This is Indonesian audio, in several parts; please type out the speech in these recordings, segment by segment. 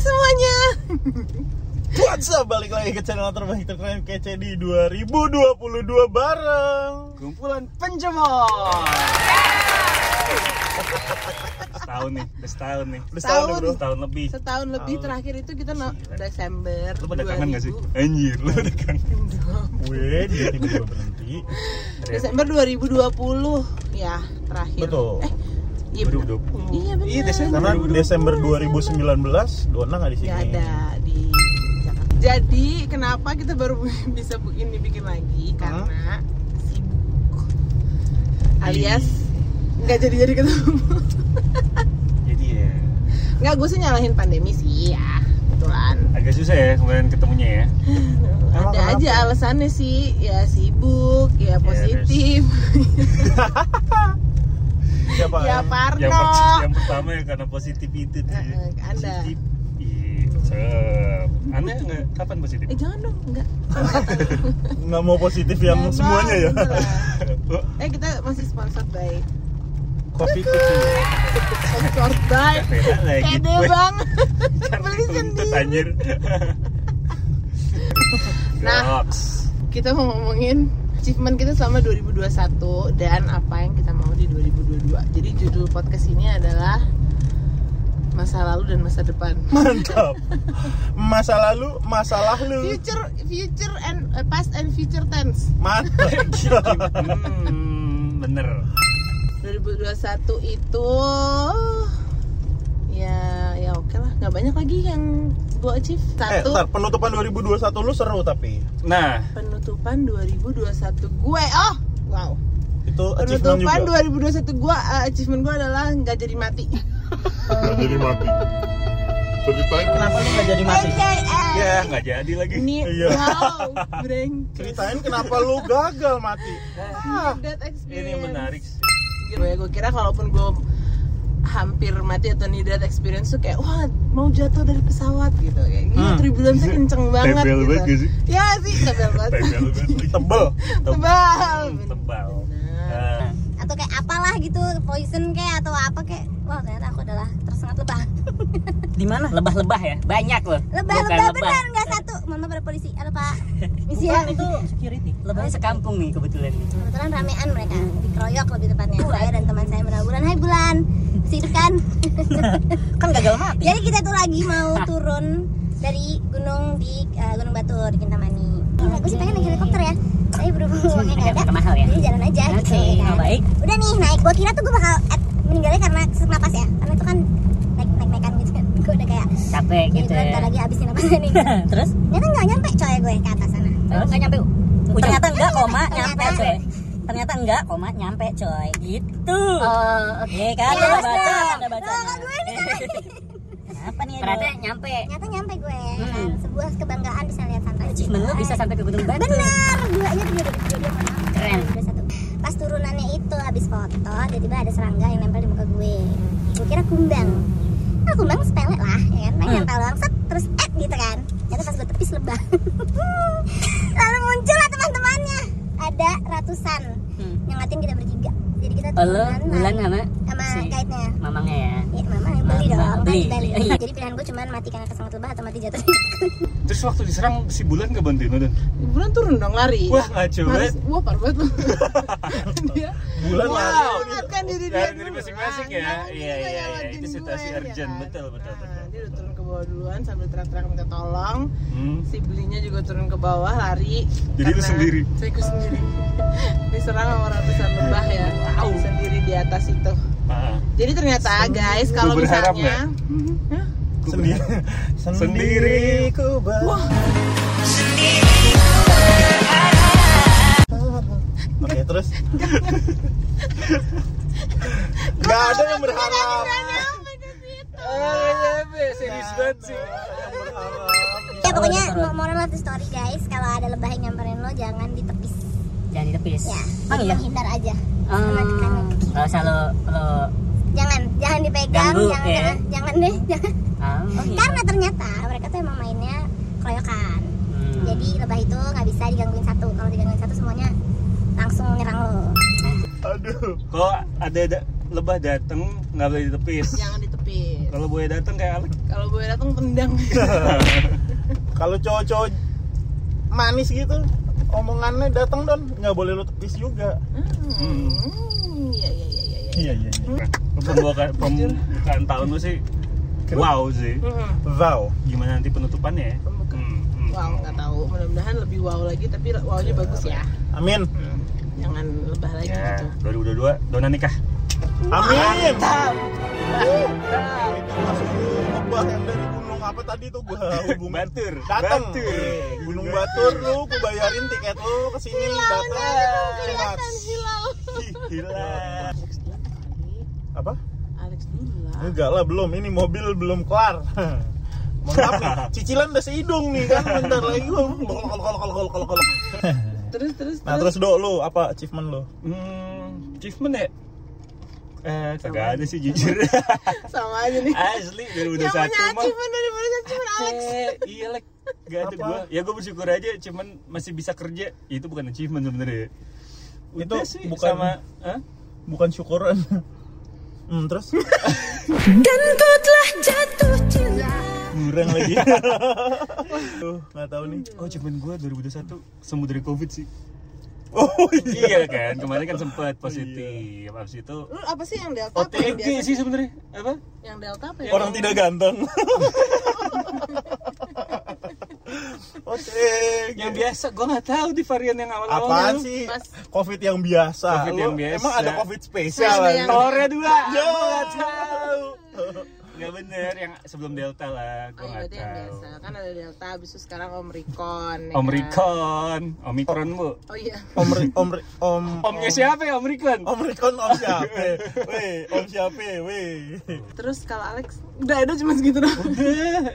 semuanya What's up? Balik lagi ke channel terbaik terkeren kece di 2022 bareng Kumpulan pencemooh setahun nih, udah setahun nih, Setahun. Udah setahun nih, bro setahun lebih. Setahun lebih terakhir itu kita no- Desember Lu pada kangen gak sih? 2000. Anjir, lu pada kangen. Weh, dia tiba-tiba berhenti Desember 2020 ya terakhir Betul. Eh iya bener. 2020. Iya bener Iya, Desember. Karena Desember 2019, Dona nggak di sini Gak ada di Jakarta. Jadi kenapa kita baru bisa bu- ini bikin lagi Hah? karena sibuk alias nggak jadi jadi ketemu. Jadi ya, Nggak gue sih nyalahin pandemi sih ya kebetulan. agak susah ya kemarin ketemunya ya. ada Emang kenapa? aja alasannya sih ya sibuk ya positif Siapa? ya Parno. Yang, per- yang pertama ya karena positif itu tuh. ya. Eh, eh, ke Anda. Positif. Iya, cep. Anda nggak kapan positif? Eh jangan dong enggak. Nggak mau positif yang semuanya ya Eh kita masih sponsor by Kopi kucing sponsor by Beda lagi Pede gue. bang Jangan Beli dituntut, sendiri anjir. Nah. Goks. kita mau ngomongin achievement kita selama 2021 dan apa yang kita mau di 2022. Jadi judul podcast ini adalah masa lalu dan masa depan. Mantap Masa lalu, masalah lu Future, future and eh, past and future tense. Mantap Hmm, bener. 2021 itu ya ya oke lah nggak banyak lagi yang gue achieve Eh, satu ntar, penutupan 2021 lu seru tapi Nah, penutupan 2021 gue oh wow Itu achievement penutupan juga 2021 gue eh, achievement gue adalah nggak jadi mati nggak jadi mati ceritain Kenapa lu nggak jadi mati? eh, NJS. ya nggak jadi lagi. Ini Iya. wow, breng. Ceritain kenapa lu gagal mati Ah. That experience. Ini menarik sih. Gue gue kira kalaupun gue hampir mati atau near death experience tuh kayak wah mau jatuh dari pesawat gitu kayak gitu Hmm. turbulence kenceng banget Tebel gitu banget gak sih? ya sih tebel banget Tebel banget. Tebel tebal tebal. Benar. Nah, atau kayak apalah gitu poison kayak atau apa kayak wah ternyata aku adalah tersengat lebah di mana lebah-lebah ya banyak loh lebah Bukan lebah benar nggak satu mama pada polisi halo pak misi ya Bukan, itu security lebahnya sekampung nih kebetulan nih kebetulan ramean mereka dikeroyok lebih tepatnya saya dan teman saya benar bulan hai bulan masih hidup kan kan gagal mati jadi kita tuh lagi mau turun dari gunung di eh, gunung batu di kintamani Nah, aku sih pengen naik helikopter ya tapi berhubung uangnya nggak agak ada mahal ya jadi jalan aja gitu Oke, ya nah, kan. baik udah nih naik gua kira tuh gua bakal at, meninggalnya karena sesak napas ya karena itu kan naik naik naikan gitu kan gua udah kayak capek Jadi gitu gue ntar lagi abisin napasnya nih terus Ternyata nggak nyampe coy gue ke atas sana nggak nyampe ternyata enggak koma nyampe Ternyata. coy ternyata enggak koma nyampe coy gitu Oh Iya kan Ya, ada harus baca dong. ada baca Eh, Loh, kok gue ini apa nih ternyata nyampe Ternyata nyampe gue Hmm. kan. Sebuah kebanggaan bisa lihat santai achievement lu bisa sampai ke gunung batu Bener, duanya tuh dia- dia- dia- dia- Keren. dua satu. Pas turunannya itu habis foto, tiba-tiba ada serangga yang nempel di muka gue. Gue kira kumbang. Nah, kumbang sepele lah, ya kan? Main Hmm. nempel doang, set, terus eh gitu kan. Ternyata pas gue tepis lebah. Lalu muncullah teman-temannya. Ada ratusan Hmm. nyengatin kita bertiga. Jadi kita Oh, lu turunan bulan sama sama si guide-nya. mamangnya ya Ya, mama yang beli Mama, dong, beli. beli. beli. Iya. Jadi pilihan gue cuma mati karena kesengat lebah atau mati jatuh. terus waktu diserang si bulan nggak bantuin lu Dan? Bulan turun dong lari. Wah ah, ngaco Harus, banget. wah parah banget lu. dia Bulan Wow. lalu Menyelamatkan diri dia Dari Nah, diri dulu. masing-masing Ah, ya. jangan Iya, dia iya, iya. nyelamatin Itu situasi gue, ya urgent. kan? Betul, betul, Nah, betul, dia udah betul. turun ke bawah duluan sambil teriak-teriak minta tolong Hmm. si belinya juga turun ke bawah lari Jadi lu karena sendiri? saya ikut sendiri diserang sama ratusan lebah ya Wow. sendiri di atas itu Ah, jadi ternyata guys kalau Lu berharap misalnya Hah? gua sendiri Sendiri. ku ber- Wah. Oke terus Gak ada yang berharap Oh, berharap. Serius banget sih. Yang berharap ya pokoknya mo- moral of the story guys kalau ada lebah yang nyamperin lo jangan ditepis jangan ditepis ya emang iya menghindar aja kan Eh, nggak usah lo lo jangan jangan dipegang Ganggu, jangan, ya. jangan jangan deh jangan ah, iya. karena ternyata mereka tuh emang mainnya keroyokan Hmm. jadi lebah itu nggak bisa digangguin satu kalau digangguin satu semuanya langsung nyerang lo Aduh Kok ada da- lebah dateng nggak boleh ditepis. Ya. jangan ditepis Kalau gue datang kayak Alex. Kalau gue datang tendang. Kalau cowok-cowok manis gitu, omongannya datang don, nggak boleh lu tepis juga. Hmm, Iya iya iya iya. iya. Iya iya. iya. Nah, Pembukaan, pembukaan tahun lu sih wow sih. Hmm. Wow. Gimana nanti penutupannya ya? Pembukaan. Hmm, hmm. Wow nggak tahu. Mudah-mudahan lebih wow lagi tapi wownya Iya. bagus ya. Amin. Jangan lebah lagi Ya, gitu. 2022 dona nikah. Amin. Itu masuk kubah yang dari gunung apa tadi tuh gua hubungin. Batur, Datang. Batur. Eh, Gunung Batur lu, ku bayarin tiket lu kesini datang. Relax. Ih, Gila. Alex dulu kali. Apa? Alex dulu lah. Enggak lah belum, ini mobil belum kelar. Mohon maaf nih, cicilan udah sehidung nih kan bentar lagi gua kol kol kol kol kol kol kol. Terus terus Nah, terus do lu apa achievement lu? Hmm, achievement ya? Eh, kagak ada sih jujur. sama aja nih. Asli Yang punya 2021 mah. achievement dari mana achievement Alex? Eh, iya lek gak ada Apa? gue ya gue bersyukur aja cuman masih bisa kerja Ya, itu bukan achievement sebenarnya Itu Udah sih, bukan- sama Hah? Bukan syukuran. Hmm, terus kurang lagi. Tuh, nggak tahu nih. oh cuman gue 2021 sembuh dari covid sih Oh iya kan kemarin kan sempat positif abis itu Lu apa sih yang delta apa yang OTG biasa? sih sebenarnya apa Yang delta apa ya? Orang tidak ganteng. Oke. gitu. yang biasa gue nggak tahu di varian yang awal awal Apaan sih? Pas- Covid yang biasa. Covid Lu yang biasa. Emang ada Covid spesial? Ada yang- Telurnya dua Ya. Gua nggak tahu nggak bener yang sebelum delta lah gue Oh, iya, nggak berarti yang tahu biasa. Kan ada delta, abis itu sekarang omikron. ya kan? Omikron, Omikron bu. Oh iya. Om Ri- Om Ri- Om Omnya siapa ya Omikron? Om Rikon Om siapa? Weh, Om siapa? Weh. Terus kalau Alex, udah Edo cuma segitu doang.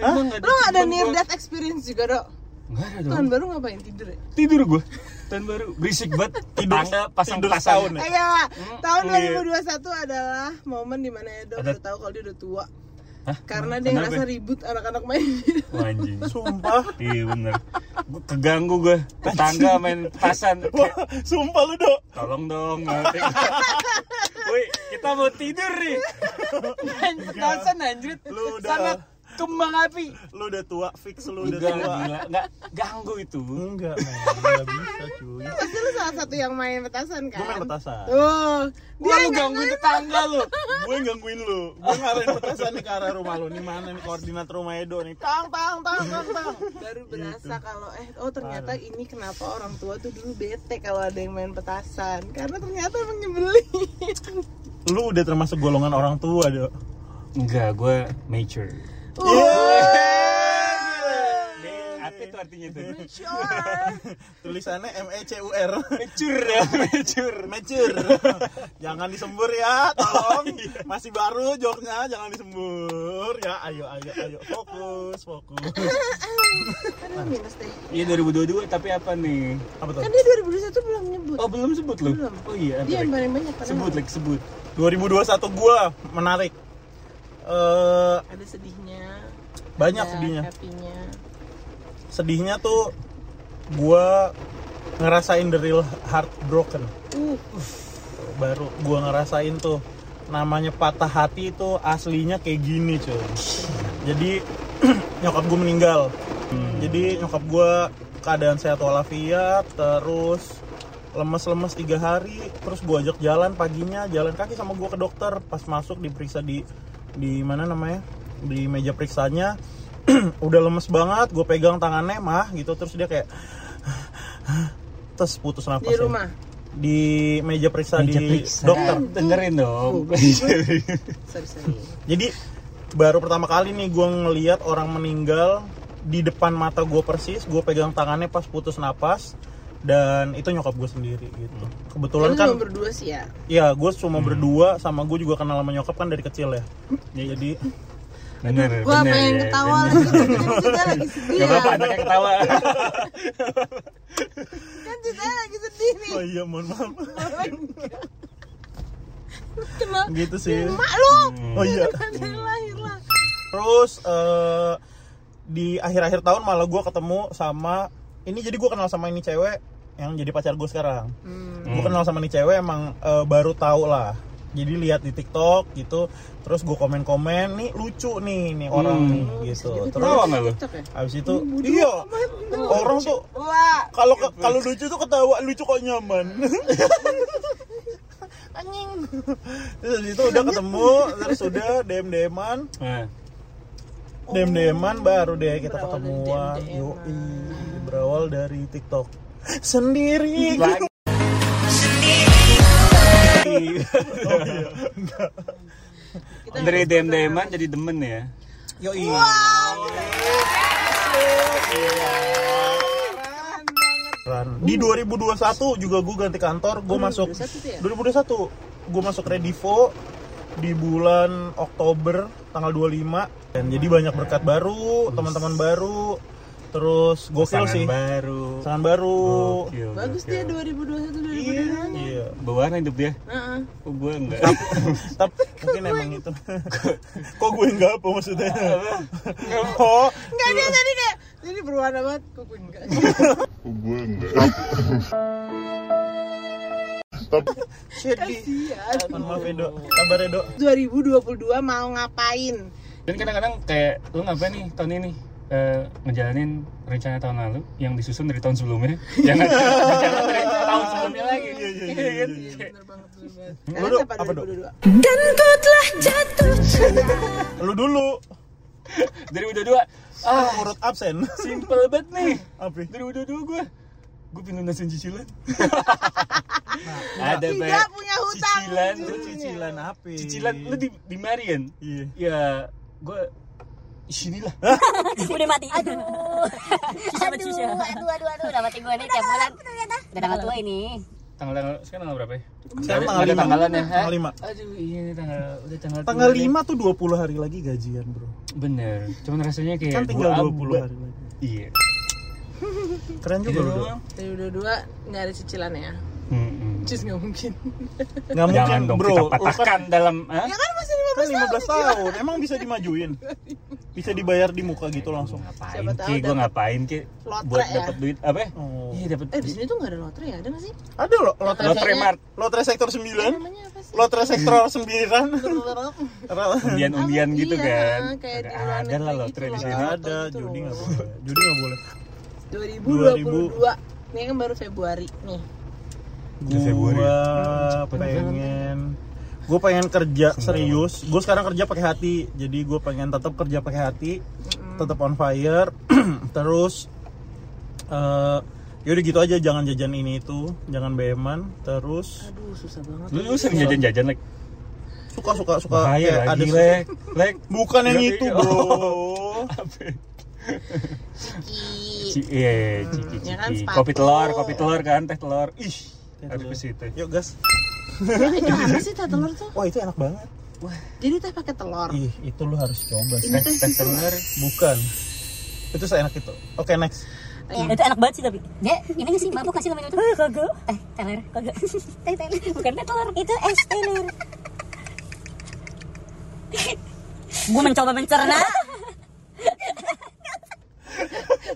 Emang Lu gak ada near death experience juga, Dok? Enggak ada dong. Tahun baru ngapain tidur ya? Tidur gua. Tahun baru berisik banget. Tidur- Tetangga pasang tidur pasang. setahun ya? Ayo, tahun iya. 2021 adalah momen dimana Edo Ada- baru tahu kalau dia udah tua. Hah? Karena dia Kenapa? ngerasa ribut anak-anak main. Wah, anjing. Sumpah. Iya bener. Gua keganggu gua. Tetangga main petasan. Wah, sumpah lu, Dok. Tolong dong. ngerti nggak? Woi, kita mau tidur nih. Main petasan anjrit. Lu udah- Sana kembang api. Lu udah tua, fix lu udah Enggak tua. gila, enggak ganggu itu. Enggak, men. Enggak bisa, cuy. Pasti lu salah satu yang main petasan kan? Gua main petasan. Tuh, Wah, dia lu nggak gangguin tetangga lu. gue gangguin lu gue ngarahin petasan nih ke arah rumah lu nih mana nih koordinat rumah Edo nih tang tang tang tang tang baru Gitu. berasa kalau eh oh ternyata ini kenapa orang tua tuh dulu bete kalau ada yang main petasan karena ternyata emang nyebelin lu udah termasuk golongan orang tua Dok Enggak, gua mature. Iya, Iya. iya, Apa itu artinya itu? tulisannya M E C U R Mature ya, mature. mature jangan disembur ya tolong masih baru joknya jangan disembur ya ayo ayo ayo fokus fokus Aduh, minus deh Iya 2022 tapi apa nih? apa tuh kan dia 2021 belum nyebut Oh belum sebut lu? Belum. Oh iya. dia yang apa, Lek? paling banyak padahal. Sebut lagi sebut. 2021 gua menarik eh ada sedihnya banyak ada sedihnya happy-nya. sedihnya tuh gua ngerasain the real heartbroken uh baru gua ngerasain tuh namanya patah hati itu aslinya kayak gini cuy jadi nyokap gue meninggal Hmm. jadi nyokap gua keadaan sehat walafiat terus lemes-lemes tiga hari terus gua ajak jalan paginya jalan kaki sama gua ke dokter pas masuk diperiksa di di mana namanya di meja periksanya udah lemes banget gue pegang tangannya mah gitu terus dia kayak terus putus nafas di rumah di meja periksa Meja di periksa. dokter. Dengerin dong. Oh. sorry sorry Jadi baru pertama kali nih gue ngeliat orang meninggal di depan mata gue persis, gue pegang tangannya pas putus napas dan itu nyokap gue sendiri gitu. Hmm. Kebetulan kan kan, cuma berdua sih ya ya gue cuma berdua sama gue juga kenal sama nyokap kan dari kecil ya. Jadi Bener. gua bener, pengen ya, ketawa bener. lagi tapi kan kita lagi sedih Gak ya apa-apa anaknya ketawa. Nah, kan kita lagi sedih nih oh iya mohon maaf kenal gitu sih. mak lu Oh iya. Dari kan lahir lah Terus eh, di akhir-akhir tahun malah gue ketemu sama ini jadi gue kenal sama ini cewek yang jadi pacar gue sekarang. Gue kenal sama nih cewek emang eh, baru tahu lah jadi lihat di TikTok gitu terus gue komen-komen nih lucu nih nih orang Hmm. nih gitu Ketawa terus nggak lu? TikTok ya? abis itu iya orang tuh Wah, kalau kalau lucu tuh ketawa lucu kok nyaman anjing. terus abis itu udah ketemu terus udah dm dman Nah, dm dman baru deh kita Oh. Berawal dari ketemuan DM-an. yoi berawal dari tiktok sendiri lagi. Dari dm deman jadi demen ya. yoi Ran. Kan. Di 2021 juga gue ganti kantor, gue masuk 2021 tuh ya? 2021 gue masuk Redivo di bulan Oktober tanggal 25 dan jadi banyak berkat baru, teman-teman baru, terus gokil Pasangan sih. baru. Pasangan baru. Gokil, Bagus gokil. dia 2021 2022. Iya. Berwarna hidup dia. Heeh. Oh, gua enggak. Tapi mungkin emang itu. Kok gue enggak apa maksudnya? oh, Enggak dia tadi kayak jadi berwarna banget kok gue enggak. Gue enggak. Tapi jadi. Kasihan. Maaf Edo. Kabar ya, Edo. 2022 mau ngapain? Dan kadang-kadang kayak lu ngapain nih tahun ini? Eh, ngejalanin rencana tahun lalu yang disusun dari tahun sebelumnya yang ada rencana dari tahun sebelumnya lagi Iya, iya, iya, Iya kan? Bener banget bener banget. Lu, Nah, Dok, siapa apa, Dok? 2022? Lu dulu. dari udah dua ah Urut absen. simple banget nih Apa? dari udah dua gue gue pindah nasiin cicilan ada Tidak Pak. Nah, punya hutang. Iya. cicilan Lu cicilan apa? cicilan lu di di mari kan Iya. ya gue sinilah Udah mati. Aduh. Susah banget susah. Aduh, aduh, aduh, aduh, udah mati gue nih tiap bulan. Udah tanggal tua ini. tanggal tanggal sekarang tanggal berapa ya Sekarang Ada- tanggal ada lima. tanggalannya ha? Tanggal lima. aduh iya nih tanggal udah tanggal Tanggal tua 5 nih. tuh 20 hari lagi gajian, Bro. bener cuman rasanya kayak Kan tinggal 20 dua abad. hari lagi. iya Keren juga lu. Dok. 2022 nggak ada cicilan ya? Mm-mm. Cus nggak mungkin. Nggak mungkin, jangan dong Bro. kita Lu patahkan dalam ah? ha? Ya kan masih Kan 15 tahun. 15 tahun. Emang bisa dimajuin? Bisa dibayar di muka gitu langsung. Siapa ngapain tahu ki gue dapat ngapain ki lotre buat ya. dapat duit apa ya? Oh. iya dapat Eh ya? di sini tuh nggak ada lotre ya? Ada nggak sih? Ada loh lotre lotre Kayaknya- mart lotre sektor 9, Namanya apa sih? lotre sektor 9. Iya. undian undian Apa? gitu Iya, kan kayak di luar ada, ada lah negeri lotre gitu di loh. sini Nggak ada, judi nggak boleh. Judi nggak boleh. 2022. Ini kan baru Februari nih. Udah Februari. Gua pengen gue pengen kerja serius gue sekarang kerja pakai hati jadi gue pengen tetap kerja pakai hati tetap on fire terus eh yaudah gitu aja jangan jajan ini itu jangan beman terus Aduh susah banget. lu lu sering jajan jajan lek suka suka suka kayak bahaya lagi ada- lek lek bukan yang Berarti- itu bro Ki. Ci, iya, ciki, Ya kan, ciki. sepatu. Kopi telur, kopi telur kan, teh telur. Ih, Teh harus telur. ke situ. Gitu. yuk gas Gimana sih teh telur tuh? wah itu enak banget Jadi teh pakai telur. ih itu lu harus coba sih. Ini teh Teh susu. telur. bukan itu seenak itu oke next Iya. Itu enak banget sih tapi. Dek, ini gak sih mabuk gak sih lo minum itu? Eh, kagak. Eh, teler. Kagak. Teh teler. Bukan teh telur, itu es telur. Gue mencoba mencerna.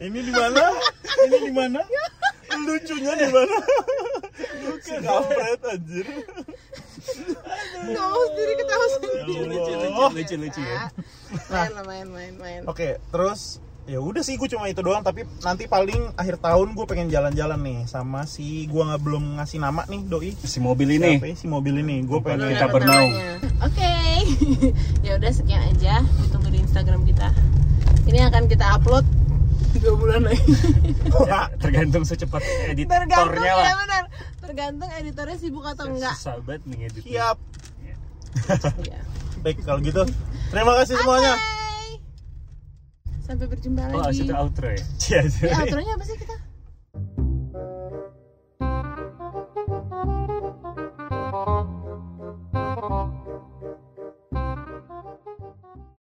ini di mana ini di mana lucunya di mana bukan kampret anjir Tahu sendiri ketawa Iya, sendiri. Lucu, lucu, Allah. lucu, lucu ya. Nah. Ah. Main lah, main, main, main. Oh. Oke, terus ya udah sih gue cuma itu doang tapi nanti paling akhir tahun gue pengen jalan-jalan nih sama si gue nggak belum ngasih nama nih doi Si mobil ini. Siapa ya? si mobil ini gue Bukan pengen kita Kapernaum. Oke. ya udah sekian aja. Ditunggu di Instagram kita. Ini akan kita upload dua bulan lagi. Ya, tergantung secepat Tergantung editornya lah. ya benar. Tergantung editornya sibuk atau enggak. Susah banget nih editnya. siap Iya. baik kalau gitu terima kasih semuanya Bye. Sampai berjumpa Oh, lagi. situ outro ya. Ya, outro-nya apa sih kita?